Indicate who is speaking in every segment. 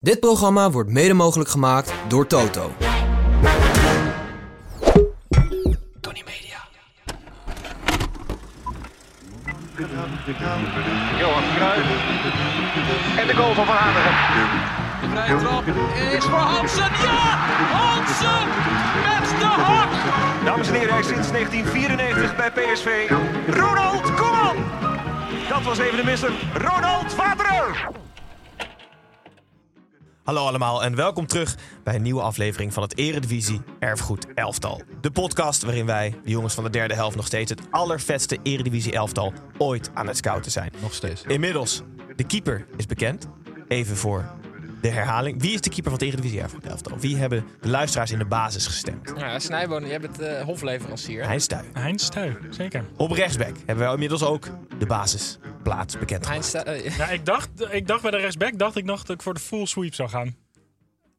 Speaker 1: Dit programma wordt mede mogelijk gemaakt door Toto. Tony Media.
Speaker 2: Johan Cruijff. En de goal van Van Hanegem.
Speaker 3: De vrije trap is voor Hansen. Ja! Hansen met de hak!
Speaker 2: Dames en heren, hij is sinds 1994 bij PSV. Ronald Koeman. Dat was even de misser. Ronald Vader.
Speaker 4: Hallo allemaal en welkom terug bij een nieuwe aflevering van het Eredivisie Erfgoed Elftal. De podcast waarin wij, de jongens van de derde helft, nog steeds het allervetste Eredivisie Elftal ooit aan het scouten zijn.
Speaker 5: Nog steeds.
Speaker 4: Inmiddels, de keeper is bekend. Even voor de herhaling. Wie is de keeper van het Eredivisie Erfgoed Elftal? Wie hebben de luisteraars in de basis gestemd?
Speaker 6: Nou Ja, Snijboon, jij bent eh, hofleverancier.
Speaker 4: Heinz Stuy.
Speaker 7: Heinz Stuy, zeker.
Speaker 4: Op rechtsback hebben we inmiddels ook de basisplaats bekend
Speaker 6: Heinz
Speaker 4: gemaakt.
Speaker 6: Stuy- eh,
Speaker 7: Ja, ik dacht, ik dacht bij de rechtsback dacht ik nog dat ik voor de full sweep zou gaan.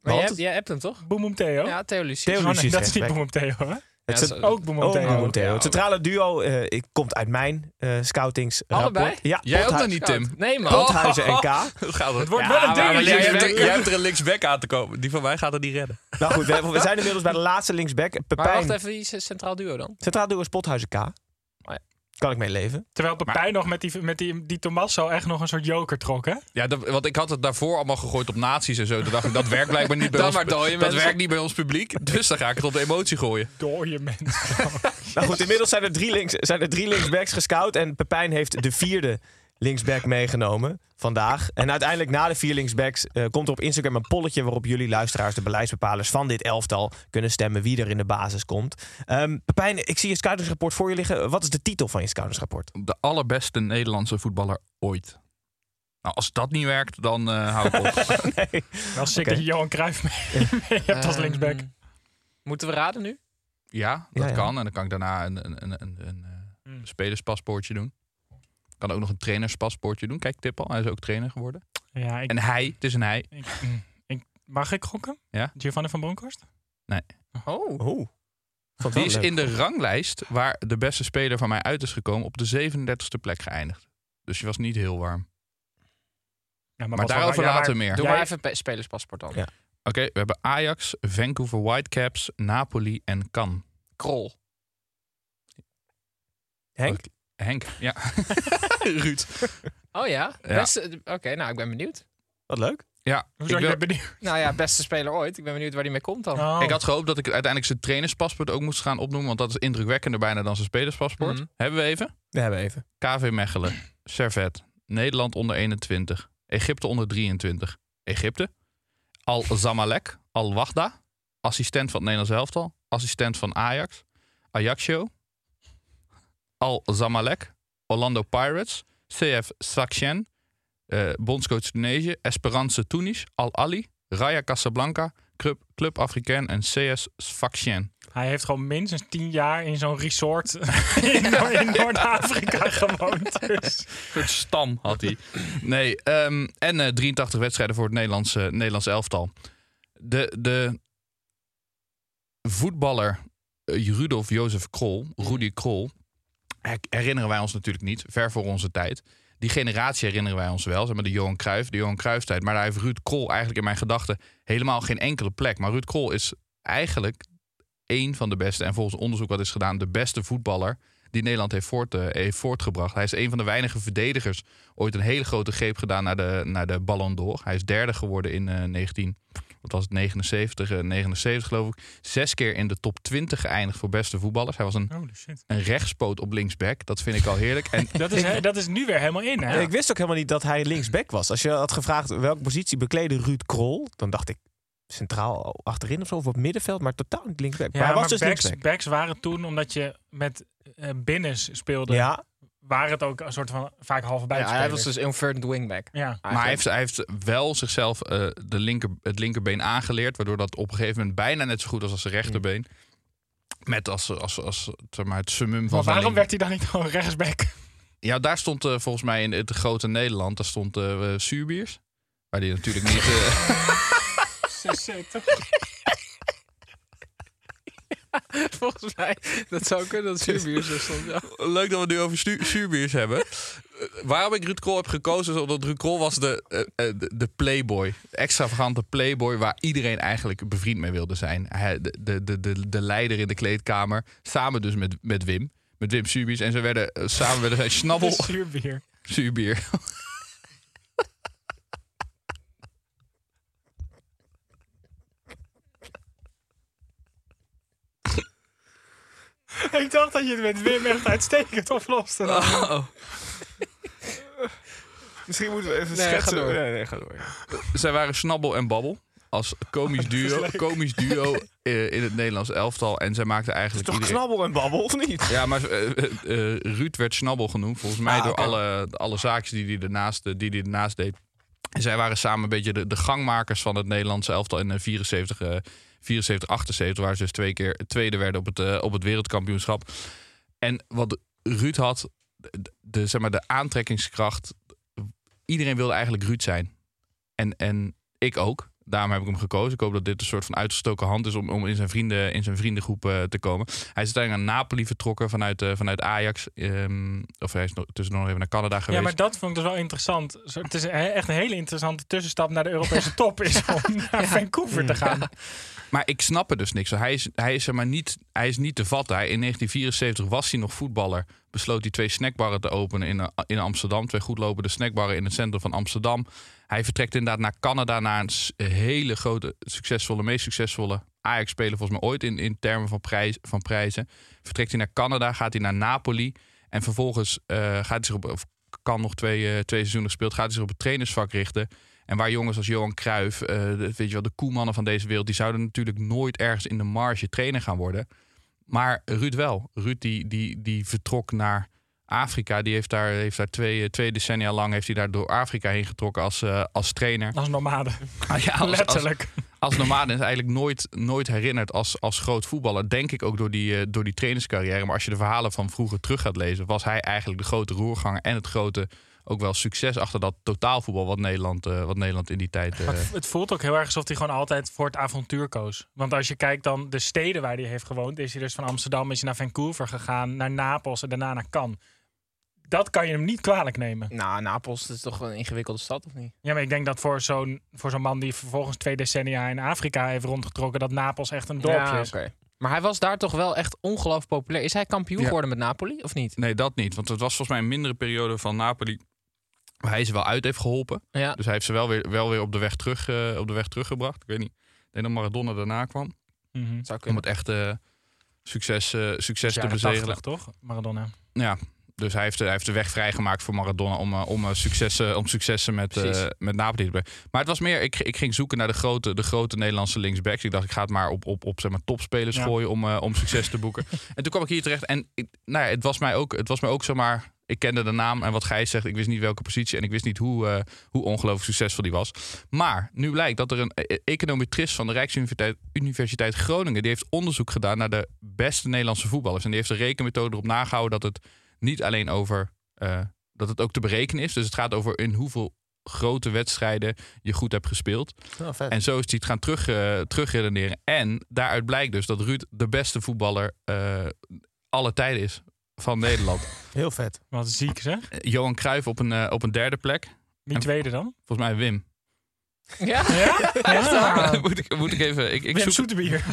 Speaker 6: maar
Speaker 4: Want?
Speaker 6: jij hebt, jij hebt hem toch?
Speaker 7: Boem Boem Theo.
Speaker 6: Ja, Theo Lucie.
Speaker 4: Theo
Speaker 7: Oh,
Speaker 4: Lucie
Speaker 7: nee,
Speaker 4: is
Speaker 7: dat is niet
Speaker 4: rechtsback.
Speaker 7: Boem Boem Theo, hè?
Speaker 4: Het
Speaker 6: Ja,
Speaker 4: zit-
Speaker 6: zo-
Speaker 7: Ook Boem Boem
Speaker 4: Oh,
Speaker 7: Theo.
Speaker 4: Boem Theo. Het centrale duo eh, ik- komt uit mijn eh scoutingsrapport.
Speaker 6: Allebei?
Speaker 4: Ja,
Speaker 5: Jij ook
Speaker 4: Pothu-
Speaker 5: dan niet, Tim?
Speaker 6: Nee, man.
Speaker 4: Rothuizen en K.
Speaker 5: Hoe gaat het?
Speaker 7: wordt wel een
Speaker 5: maar
Speaker 7: dingetje.
Speaker 5: jij, hebt er,
Speaker 7: denk ik.
Speaker 5: jij hebt er een linksback aan te komen. Die van mij gaat het niet redden.
Speaker 4: Nou goed, we, we zijn inmiddels bij de laatste linksback.
Speaker 6: Maar wacht
Speaker 4: Pepijn,
Speaker 6: even, die is centraal duo dan.
Speaker 4: centraal duo is Pothuizen K. Kan ik mee leven.
Speaker 7: Terwijl Pepijn nog met die, met die, die Tommaso echt nog een soort joker trok, hè?
Speaker 5: Ja, dat, want ik had het daarvoor allemaal gegooid op nazi's en zo. Toen dacht ik, dat werkt blijkbaar niet bij,
Speaker 6: Dan
Speaker 5: ons,
Speaker 6: maar dode
Speaker 5: dat
Speaker 6: mensen.
Speaker 5: werkt niet bij ons publiek. Dus dan ga ik het op de emotie gooien.
Speaker 7: Dooie mens.
Speaker 4: Nou goed, inmiddels zijn er drie, links, zijn er drie linksbacks gescout. En Pepijn heeft de vierde linksback meegenomen vandaag. En uiteindelijk na de vier linksbacks eh, komt er op Instagram een polletje... waarop jullie luisteraars, de beleidsbepalers van dit elftal... kunnen stemmen wie er in de basis komt. Ehm Pepijn, ik zie je scoutingsrapport voor je liggen. Wat is de titel van je scoutingsrapport?
Speaker 5: De allerbeste Nederlandse voetballer ooit. Nou, als dat niet werkt, dan eh, hou ik op.
Speaker 4: Nee.
Speaker 7: Wel sick
Speaker 4: Oké.
Speaker 7: dat je Johan Cruijff mee, mee hebt als
Speaker 6: Ehm,
Speaker 7: linksback.
Speaker 6: Moeten we raden nu?
Speaker 5: Ja, dat
Speaker 4: Ja, ja.
Speaker 5: kan. En dan kan ik daarna een, een, een, een, een eh,
Speaker 7: Hmm.
Speaker 5: spelerspaspoortje doen. Kan ook nog een trainerspaspoortje doen. Kijk, tip al. Hij is ook trainer geworden.
Speaker 7: Ja, ik,
Speaker 5: En hij, het is een hij.
Speaker 7: ik, ik, mag ik gokken?
Speaker 5: Ja.
Speaker 7: Giovanni van Bronckhorst?
Speaker 6: Oh.
Speaker 4: Oeh. Vond
Speaker 5: Die
Speaker 4: wel
Speaker 5: is
Speaker 4: leuk.
Speaker 5: in de ranglijst waar de beste speler van mij uit is gekomen op de 37e plek geëindigd. Dus die was niet heel warm. Oké,
Speaker 7: Ja,
Speaker 5: Maar daarover later meer.
Speaker 6: Doe
Speaker 7: Jij-
Speaker 6: maar even pe- spelerspaspoort dan.
Speaker 4: Ja.
Speaker 5: we hebben Ajax, Vancouver Whitecaps, Napoli en Cannes.
Speaker 6: Krol.
Speaker 4: Henk?
Speaker 5: Oké, Henk, ja. Ruud.
Speaker 6: Oh ja?
Speaker 5: Ja.
Speaker 6: Beste- Oké, nou, ik ben benieuwd.
Speaker 4: Wat leuk.
Speaker 5: Ja,
Speaker 7: Hoezo,
Speaker 5: ik,
Speaker 7: je
Speaker 5: wil-
Speaker 7: bent benieuwd?
Speaker 6: Nou ja, beste speler ooit. Ik ben benieuwd waar die mee komt dan.
Speaker 7: Oh.
Speaker 5: ik had gehoopt dat ik uiteindelijk zijn trainerspaspoort ook moest gaan opnoemen. Want dat is indrukwekkender bijna dan zijn spelerspaspoort.
Speaker 6: Mhm.
Speaker 5: Hebben we even?
Speaker 4: We hebben even.
Speaker 5: KV Mechelen, Servet, Nederland onder 21, Egypte onder 23, Egypte, Al-Zamalek, Al-Wahda, assistent van het Nederlands elftal, assistent van Ajax, Ajaccio, Al-Zamalek, Orlando Pirates, CF Sfaxien, eh, bondscoach Tunesië, Esperance Tunis, Al-Ali, Raya Casablanca, Club, Club Africain en CS Sfaxien.
Speaker 7: Hij heeft gewoon minstens tien jaar in zo'n resort in, Noor- in Noord-Afrika gewoond. Dus.
Speaker 5: soort stam had hij. Nee, ehm, en eh, 83 wedstrijden voor het Nederlandse, Nederlands elftal. De, de voetballer eh, Rudolf Jozef Krol, Rudy Krol, her- herinneren wij ons natuurlijk niet, ver voor onze tijd. Die generatie herinneren wij ons wel, zeg maar de Johan Cruijff, de Johan Cruijff-tijd. Maar daar heeft Ruud Krol eigenlijk in mijn gedachten helemaal geen enkele plek. Maar Ruud Krol is eigenlijk één van de beste, en volgens onderzoek wat is gedaan, de beste voetballer die Nederland heeft, voort, eh, heeft voortgebracht. Hij is een van de weinige verdedigers ooit een hele grote greep gedaan naar de, naar de Ballon d'Or. Hij is derde geworden in eh 19, wat was het, 79, eh, 79 geloof ik. Zes keer in de top 20 geëindigd voor beste voetballers. Hij was een,
Speaker 7: Holy shit.
Speaker 5: een rechtspoot op linksback. Dat vind ik al heerlijk. En
Speaker 7: Dat is, he- dat is nu weer helemaal in, hè?
Speaker 4: Ik wist ook helemaal niet dat hij linksback was. Als je had gevraagd welke positie bekleedde Ruud Krol, dan dacht ik centraal achterin of zo, of op middenveld, maar totaal niet linksback.
Speaker 7: Ja,
Speaker 4: maar hij was
Speaker 7: maar
Speaker 4: dus
Speaker 7: backs,
Speaker 4: linksback.
Speaker 7: backs waren toen, omdat je met eh binnens speelde,
Speaker 4: Ja,
Speaker 7: waren het ook een soort van vaak halve
Speaker 6: Ja, hij was
Speaker 7: buitenspelers.
Speaker 6: dus inverted wingback.
Speaker 7: Ja,
Speaker 5: Maar hij heeft, hij heeft wel zichzelf eh, de linker, het linkerbeen aangeleerd. Waardoor dat op een gegeven moment bijna net zo goed was als zijn rechterbeen. Met als, als, als zeg maar, het summum van
Speaker 7: Mm. maar
Speaker 5: zijn
Speaker 7: waarom
Speaker 5: linker-
Speaker 7: werd hij dan niet gewoon rechtsback?
Speaker 5: Ja, daar stond eh, volgens mij in het grote Nederland. Daar stond eh eh, Suurbiers. Waar die natuurlijk niet... eh,
Speaker 7: eh,
Speaker 6: Volgens mij, dat zou kunnen dat Subius er stond. Ja. dus
Speaker 5: leuk dat we het nu over stu- Suurbiers hebben. Eh, waarom ik Ruud Krol heb gekozen is omdat Ruud Krol was de, eh, eh, de, de playboy. De extravagante playboy waar iedereen eigenlijk bevriend mee wilde zijn. Hij- de, de, de, de, de leider in de kleedkamer. Samen dus met, met Wim. Met Wim Subies. En ze werden eh, samen werden zij
Speaker 7: De
Speaker 5: snabbel...
Speaker 7: zuurbier.
Speaker 5: Zuurbier.
Speaker 7: Ik dacht dat je het met Wim echt uitstekend oplost.
Speaker 4: Misschien moeten we even
Speaker 6: Nee, ga
Speaker 4: schetsen.
Speaker 6: door.
Speaker 4: Nee, nee, ga door.
Speaker 5: Zij waren Snabbel en Babbel. Als komisch duo, komisch duo eh, in het Nederlands elftal. En zij maakten eigenlijk
Speaker 4: Toch
Speaker 5: iedereen...
Speaker 4: knabbel en babbel, of niet?
Speaker 5: Ja, maar eh, eh, eh, Ruud werd Snabbel genoemd. Volgens mij door alle, alle zaakjes die hij ernaast, eh, die hij ernaast deed. En zij waren samen een beetje de, de gangmakers van het Nederlandse elftal in eh, 74, eh, 74 78. Waar ze dus twee keer tweede werden op het, eh, op het wereldkampioenschap. En wat Ruud had, de, de, zeg maar, de aantrekkingskracht. Iedereen wilde eigenlijk Ruud zijn. En, en ik ook. Daarom heb ik hem gekozen. Ik hoop dat dit een soort van uitgestoken hand is om, om in, zijn vrienden, in zijn vriendengroep eh, te komen. Hij is uiteindelijk naar Napoli vertrokken vanuit, eh, vanuit Ajax. Ehm, of hij is nog- tussendoor nog even naar Canada geweest.
Speaker 7: Ja, maar dat vond ik dus wel interessant. Zo, Het is een- echt een hele interessante tussenstap naar de Europese top is om naar Vancouver te gaan.
Speaker 5: Maar ik snap er dus niks van. Hij is, hij is, zeg maar niet, hij is niet te vatten. Hij, in 1974 was hij nog voetballer. Besloot hij twee snackbarren te openen in, eh, in Amsterdam. Twee goedlopende snackbarren in het centrum van Amsterdam. Hij vertrekt inderdaad naar Canada. Naar een s- hele grote, succesvolle, meest succesvolle Ajax-speler volgens mij ooit in, in termen van, prijs, van prijzen. Vertrekt hij naar Canada, gaat hij naar Napoli. En vervolgens eh, gaat hij zich op, of kan nog twee, eh, twee seizoenen gespeeld, gaat hij zich op het trainersvak richten. En waar jongens als Johan Cruijff, eh, de- weet je wel, de koemannen van deze wereld, die zouden natuurlijk nooit ergens in de marge trainer gaan worden. Maar Ruud wel. Ruud die, die, die vertrok naar Afrika. Die heeft daar, heeft daar twee, eh, twee decennia lang heeft hij daar door Afrika heen getrokken als, eh, als trainer.
Speaker 7: Als nomade.
Speaker 5: Ah ja, als- als-
Speaker 7: Letterlijk.
Speaker 5: als normale is eigenlijk nooit, nooit herinnerd als, als groot voetballer. Denk ik ook door die, eh, door die trainerscarrière. Maar als je de verhalen van vroeger terug gaat lezen, was hij eigenlijk de grote roerganger en het grote ook wel succes achter dat totaalvoetbal wat Nederland, eh, wat Nederland in die tijd. eh,
Speaker 7: Maar het- het voelt ook heel erg alsof hij gewoon altijd voor het avontuur koos. Want als je kijkt dan de steden waar hij heeft gewoond, is hij dus van Amsterdam is hij naar Vancouver gegaan, naar Napels en daarna naar Cannes. Dat kan je hem niet kwalijk nemen.
Speaker 6: Nou, Napels dat is toch wel een ingewikkelde stad, of niet?
Speaker 7: Ja, maar ik denk dat voor zo'n voor zo'n man die vervolgens twee decennia in Afrika heeft rondgetrokken, dat Napels echt een dorpje
Speaker 6: Ja,
Speaker 7: is.
Speaker 6: oké. Maar hij was daar toch wel echt ongelooflijk populair. Is hij kampioen
Speaker 5: Ja.
Speaker 6: geworden met Napoli, of niet?
Speaker 5: nee, dat niet. Want het was volgens mij een mindere periode van Napoli. Waar hij ze wel uit heeft geholpen.
Speaker 6: Ja.
Speaker 5: Dus hij heeft ze wel weer, wel weer op, de weg terug, eh, op de weg teruggebracht. Ik weet niet. Ik denk dat Maradona daarna kwam.
Speaker 7: Mhm.
Speaker 6: Zou
Speaker 5: Om
Speaker 6: kunnen.
Speaker 5: het echte succes, eh, succes te
Speaker 7: Jaren
Speaker 5: bezegelen.
Speaker 7: 80 toch? Maradona.
Speaker 5: Ja, dus hij heeft, hij heeft de weg vrijgemaakt voor Maradona om, eh, om, eh, successen, om successen met,
Speaker 6: Precies.
Speaker 5: eh, met Napoli te brengen. Maar het was meer, ik, ik ging zoeken naar de grote, de grote Nederlandse linksbacks. Ik dacht, ik ga het maar op, op, op zeg maar, topspelers
Speaker 7: Ja.
Speaker 5: gooien om, eh, om succes te boeken. En toen kwam ik hier terecht en ik, nou ja, het was mij ook, het was mij ook zeg maar, ik kende de naam en wat Gijs zegt, ik wist niet welke positie en ik wist niet hoe, eh, hoe ongelooflijk succesvol die was. Maar nu blijkt dat er een eh, econometrist van de Rijksuniversiteit Universiteit Groningen, die heeft onderzoek gedaan naar de beste Nederlandse voetballers. En die heeft de rekenmethode erop nagehouden dat het niet alleen over, eh, dat het ook te berekenen is. Dus het gaat over in hoeveel grote wedstrijden je goed hebt gespeeld.
Speaker 4: Nou,
Speaker 5: En zo is hij het gaan terug, eh, terugredeneren. En daaruit blijkt dus dat Ruud de beste voetballer eh alle tijden is van Nederland.
Speaker 4: Heel vet.
Speaker 7: Wat ziek zeg.
Speaker 5: Eh, Johan Cruijff op een, eh, op een derde plek.
Speaker 7: Wie
Speaker 5: En-
Speaker 7: tweede dan?
Speaker 5: Volgens mij Wim.
Speaker 6: Ja,
Speaker 7: Ja? Echt waar?
Speaker 5: moet, ik, moet ik even... Ik, ik
Speaker 7: Wim
Speaker 5: zoek,
Speaker 7: Soetebier.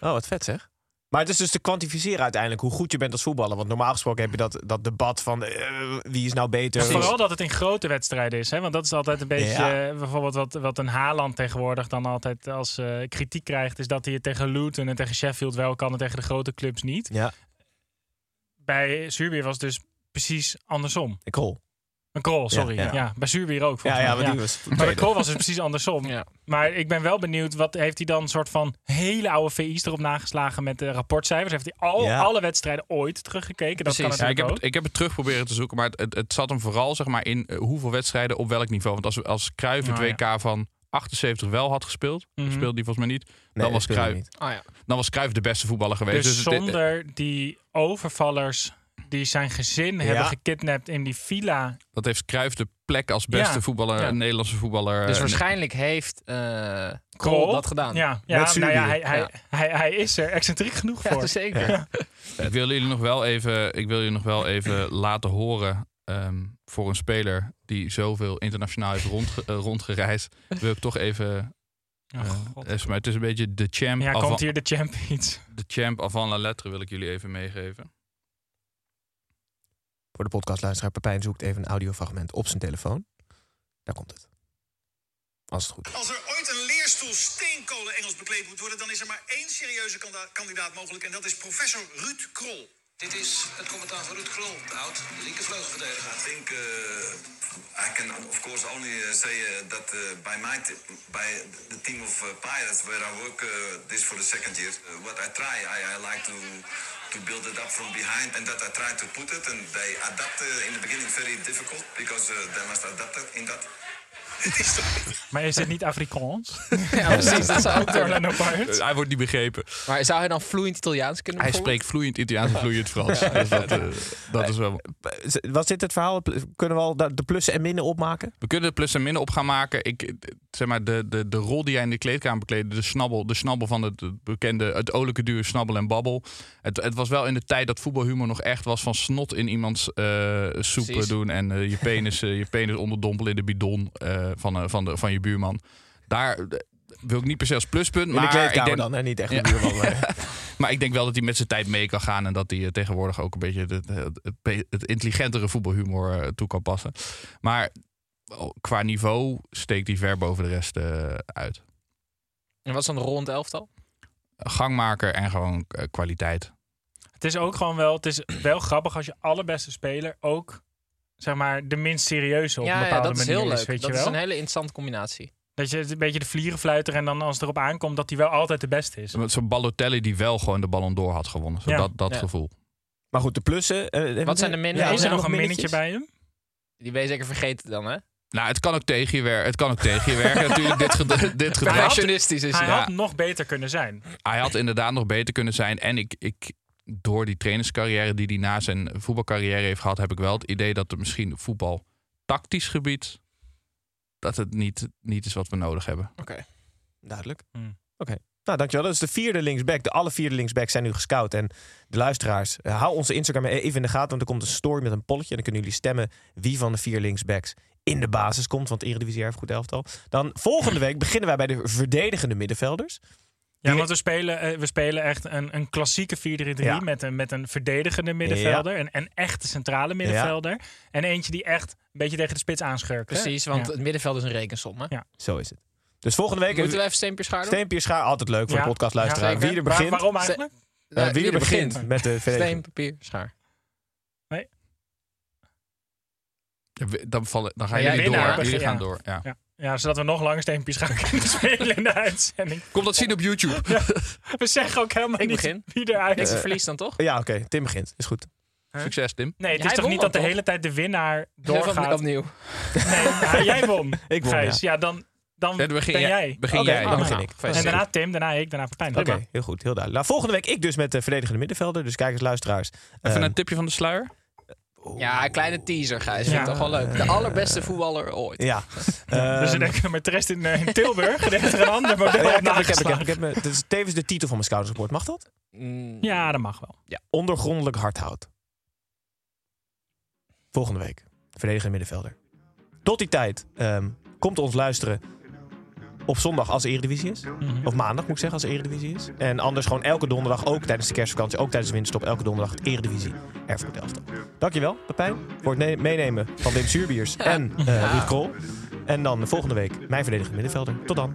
Speaker 4: Oh, wat vet zeg. Maar het is dus te kwantificeren uiteindelijk hoe goed je bent als voetballer. Want normaal gesproken heb je dat, dat debat van eh, wie is nou beter.
Speaker 7: Vooral dat het in grote wedstrijden is. Hè? Want dat is altijd een beetje...
Speaker 4: Ja.
Speaker 7: eh, bijvoorbeeld wat, wat een Haaland tegenwoordig dan altijd als eh, kritiek krijgt... is dat hij het tegen Luton en tegen Sheffield wel kan... en tegen de grote clubs niet.
Speaker 4: Ja,
Speaker 7: Bij Zuurbier was het dus precies andersom.
Speaker 4: ik hol.
Speaker 7: Een Krol, sorry. Ja,
Speaker 4: Ja, ja.
Speaker 7: bij Zuurbier ook.
Speaker 4: Ja,
Speaker 7: volgens
Speaker 4: ja,
Speaker 7: mij.
Speaker 4: want die was
Speaker 7: Maar bij
Speaker 4: tweede.
Speaker 7: Krol was het precies andersom.
Speaker 6: Ja.
Speaker 7: Maar ik ben wel benieuwd, wat heeft hij dan een soort van hele oude VI's erop nageslagen met de rapportcijfers? Heeft hij al,
Speaker 4: Ja. alle
Speaker 7: alle wedstrijden ooit teruggekeken? Dat
Speaker 6: Precies.
Speaker 7: kan
Speaker 5: Ja, ik, heb
Speaker 7: ook.
Speaker 5: het, ik heb het terug proberen te zoeken, maar het, het, het zat hem vooral zeg maar, in eh, hoeveel wedstrijden op welk niveau. Want als, als Cruijff het
Speaker 7: Oh, ja.
Speaker 5: WK van 78 wel had gespeeld,
Speaker 7: Mhm.
Speaker 5: speelde hij volgens mij niet,
Speaker 4: Nee,
Speaker 5: dan, was
Speaker 4: speelde
Speaker 5: Cruijff,
Speaker 4: niet.
Speaker 6: Oh ja.
Speaker 5: dan was Cruijff de beste voetballer geweest.
Speaker 7: Dus
Speaker 5: het- het-
Speaker 7: zonder die overvallers die zijn gezin
Speaker 4: Ja.
Speaker 7: hebben gekidnapt in die villa.
Speaker 5: dat heeft Cruijff de plek als beste
Speaker 7: Ja,
Speaker 5: voetballer,
Speaker 7: ja.
Speaker 5: Nederlandse voetballer.
Speaker 6: Dus
Speaker 5: eh,
Speaker 6: waarschijnlijk heeft eh
Speaker 7: Krol?
Speaker 6: Krol dat gedaan.
Speaker 7: Ja, ja,
Speaker 4: Met
Speaker 7: nou ja, hij,
Speaker 4: Zuurbier.
Speaker 7: hij,
Speaker 6: Ja.
Speaker 7: Hij, hij is er excentriek genoeg
Speaker 6: Ja, dus-
Speaker 7: voor.
Speaker 6: zeker.
Speaker 5: Ik wil jullie nog wel even, ik wil jullie nog wel even laten horen. ehm, voor een speler die zoveel internationaal heeft rondge- eh, rondgereisd, wil ik toch even.
Speaker 7: Oh,
Speaker 5: eh,
Speaker 7: God.
Speaker 5: even- maar het is een beetje de champ,
Speaker 7: ja,
Speaker 5: avant,
Speaker 7: komt hier de champions.
Speaker 5: de champ avant la lettre, wil ik jullie even meegeven.
Speaker 4: Voor de podcastluisteraar, Pepijn zoekt even een audiofragment op zijn telefoon. Daar komt het. Als het goed is.
Speaker 8: Als er ooit een leerstoel steenkolen Engels bekleed moet worden, dan is er maar één serieuze kanda- kandidaat mogelijk en dat is professor Ruud Krol. Dit is het commentaar van Ruud Krol, de oud linkervleugelverdediger.
Speaker 9: I think uh, I can, of course, only uh, say uh, that uh, by my t- by the team of uh, pilots where I work uh, this for the second year, uh, what I try, I, I like to to build it up from behind, and that I try to put it, and they adapt uh, in the beginning very difficult because uh, they must adapt it in that.
Speaker 7: Maar is dit niet Afrikaans?
Speaker 6: Ja, precies. Dat zou ook
Speaker 7: Door
Speaker 6: kunnen.
Speaker 7: Orlando Pirates?
Speaker 5: Eh, hij wordt niet begrepen.
Speaker 6: Maar zou hij dan vloeiend Italiaans kunnen?
Speaker 5: Hij
Speaker 6: bijvoorbeeld?
Speaker 5: spreekt vloeiend Italiaans en vloeiend Frans. Dus dat, eh, dat is wel.
Speaker 4: Was dit het verhaal? Kunnen we al da- de plussen en minnen opmaken?
Speaker 5: We kunnen er plus en min op gaan maken. Ik, eh, zeg maar, de, de, de rol die hij in de kleedkamer bekleedde, de snabbel, de snabbel van het het bekende, het olijke duur snabbel en babbel. Het, het was wel in de tijd dat voetbalhumor nog echt was van snot in iemands eh, soep
Speaker 6: Precies.
Speaker 5: doen en eh, je, penis, eh, je penis onderdompelen in de bidon eh, van, eh, van, de, van je buurman. Daar eh, wil ik niet per se als pluspunt,
Speaker 4: In de
Speaker 5: maar ik,
Speaker 4: kleedkamer
Speaker 5: denk,
Speaker 4: dan, hè? niet echt
Speaker 5: Ja.
Speaker 4: de buurman. maar-
Speaker 5: maar ik denk wel dat hij met zijn tijd mee kan gaan. En dat hij eh, tegenwoordig ook een beetje het, het- het, pe- het intelligentere voetbalhumor eh, toe kan passen. Maar oh, qua niveau steekt hij ver boven de rest eh, uit.
Speaker 6: En wat is dan de rol in het elftal?
Speaker 5: Gangmaker en gewoon eh, kwaliteit.
Speaker 7: Het is ook gewoon wel, het is wel grappig als je allerbeste speler ook zeg maar de minst serieuze op een
Speaker 6: ja, ja,
Speaker 7: bepaalde
Speaker 6: dat is
Speaker 7: manier
Speaker 6: heel leuk.
Speaker 7: is, weet
Speaker 6: dat
Speaker 7: je
Speaker 6: is
Speaker 7: wel?
Speaker 6: een hele interessante combinatie.
Speaker 7: Dat je een beetje de vlierenfluiter en dan als het erop aankomt dat hij wel altijd de beste is.
Speaker 5: Zo- Zo'n Balotelli die wel gewoon de Ballon d'Or had gewonnen. Zo
Speaker 7: Ja.
Speaker 5: dat dat
Speaker 6: Ja.
Speaker 5: gevoel.
Speaker 4: Maar goed, de plussen. eh, hebben we-
Speaker 6: zijn de minnen?
Speaker 4: Ja,
Speaker 7: is er
Speaker 4: zijn
Speaker 7: nog een minnetje
Speaker 4: minnetjes?
Speaker 7: bij hem?
Speaker 6: Die ben je zeker vergeten dan, hè?
Speaker 5: Nou, het kan ook tegen je werken. Het kan ook tegen je werken natuurlijk. Dit, ged- dit gedrag.
Speaker 7: had-
Speaker 6: Perfectionistisch is
Speaker 7: Hij
Speaker 6: hij.
Speaker 5: Ja.
Speaker 7: had nog beter kunnen zijn.
Speaker 5: hij had inderdaad nog beter kunnen zijn. En ik, ik, door die trainerscarrière die hij na zijn voetbalcarrière heeft gehad, heb ik wel het idee dat er misschien op voetbal tactisch gebied dat het niet, niet is wat we nodig hebben.
Speaker 4: Duidelijk.
Speaker 7: Hmm.
Speaker 4: Oké. Nou, dankjewel. Dat is de vierde linksback. De alle vierde linksbacks zijn nu gescout. En de luisteraars, eh, hou onze Instagram even in de gaten. Want er komt een story met een polletje. En dan kunnen jullie stemmen wie van de vier linksbacks in de basis komt. Want de Eredivisie heeft goed elftal. Dan volgende week beginnen wij bij de verdedigende middenvelders.
Speaker 7: Ja,
Speaker 4: Die-
Speaker 7: want we spelen, eh, we spelen echt een, een klassieke 4-3-3
Speaker 4: Ja.
Speaker 7: met, een, met een verdedigende middenvelder. en Een, een echte centrale middenvelder. En eentje die echt een beetje tegen de spits aanschurkt. hè?
Speaker 6: Precies, want
Speaker 7: Ja.
Speaker 6: het middenveld is een rekensom, hè?
Speaker 7: Ja.
Speaker 4: Zo is het. Dus volgende week...
Speaker 6: Moeten we even steempjes schaar doen?
Speaker 4: Steempje Schaar, altijd leuk voor
Speaker 7: Ja.
Speaker 4: de podcastluisteraar.
Speaker 6: Ja, zeker.
Speaker 4: wie er
Speaker 7: Waar-
Speaker 4: begint,
Speaker 7: waarom eigenlijk?
Speaker 4: eh,
Speaker 6: Nou,
Speaker 4: wie er begint, met de
Speaker 6: Steen,
Speaker 4: verdediging.
Speaker 6: papier, schaar.
Speaker 5: Ja, we- Dan, vallen, dan gaan
Speaker 7: Ja,
Speaker 5: jullie door.
Speaker 7: winnaar
Speaker 5: hè? Jullie
Speaker 7: begin-
Speaker 5: gaan
Speaker 7: ja.
Speaker 5: door. Ja.
Speaker 7: Ja. ja, zodat we nog langer steempjes gaan kunnen spelen in de uitzending.
Speaker 5: Kom dat zien op YouTube.
Speaker 7: We zeggen ook helemaal
Speaker 6: Ik
Speaker 7: niet Eh,
Speaker 6: begin.
Speaker 7: wie eruit
Speaker 6: Niks
Speaker 7: is.
Speaker 6: te verliezen dan, toch?
Speaker 4: Ja, oké. Tim begint. Is goed.
Speaker 5: Succes, Tim.
Speaker 7: Nee, het
Speaker 6: Hij
Speaker 7: is toch
Speaker 6: won
Speaker 7: niet
Speaker 6: dan,
Speaker 7: dat de
Speaker 6: toch?
Speaker 7: hele tijd de winnaar
Speaker 6: Even
Speaker 7: doorgaat? Nee,
Speaker 6: opnieuw.
Speaker 7: ja, jij won,
Speaker 4: Ik won,
Speaker 7: Gijs. Ja, dan, dan
Speaker 5: Ja, dan begin
Speaker 7: ben
Speaker 5: jij-
Speaker 7: jij.
Speaker 5: Begin
Speaker 4: Oké,
Speaker 5: jij.
Speaker 4: dan begin
Speaker 6: Ah.
Speaker 4: ik.
Speaker 7: En
Speaker 5: Gefeliciteerd.
Speaker 7: daarna Tim, daarna ik, daarna Pepijn.
Speaker 4: Oké, heel goed. Heel duidelijk. Nou, volgende week ik dus met de verdedigende middenvelder. Dus kijkers, luisteraars.
Speaker 5: Even
Speaker 4: Ehm,
Speaker 5: een tipje van de sluier.
Speaker 6: Ja, een kleine teaser, Gijs. Vind ik
Speaker 7: Ja.
Speaker 6: toch wel leuk. De allerbeste voetballer ooit.
Speaker 4: Ja.
Speaker 7: Dus ze
Speaker 4: Ehm,
Speaker 7: denken, maar terecht in, eh, in Tilburg, er heeft er een ander model
Speaker 4: Ja,
Speaker 7: op
Speaker 4: ik heb, ik heb, ik heb,
Speaker 7: nageslagen.
Speaker 4: ik heb me- dit is tevens de titel van mijn scoutersrapport. Mag dat?
Speaker 6: Mm,
Speaker 7: Ja, dat mag wel.
Speaker 4: Ondergrondelijk hardhout. Volgende week. Verdediger en middenvelder. Tot die tijd. ehm, komt ons luisteren op zondag als de Eredivisie is.
Speaker 7: Mhm.
Speaker 4: Of maandag moet ik zeggen als de Eredivisie is. En anders gewoon elke donderdag, ook tijdens de kerstvakantie, ook tijdens de winterstop, elke donderdag het Eredivisie Erfurt Elftal. Dankjewel Pepijn voor het ne- meenemen van Wim Suurbiers en eh Ruud Krol. En dan volgende week mijn verdedigende middenvelder. Tot dan.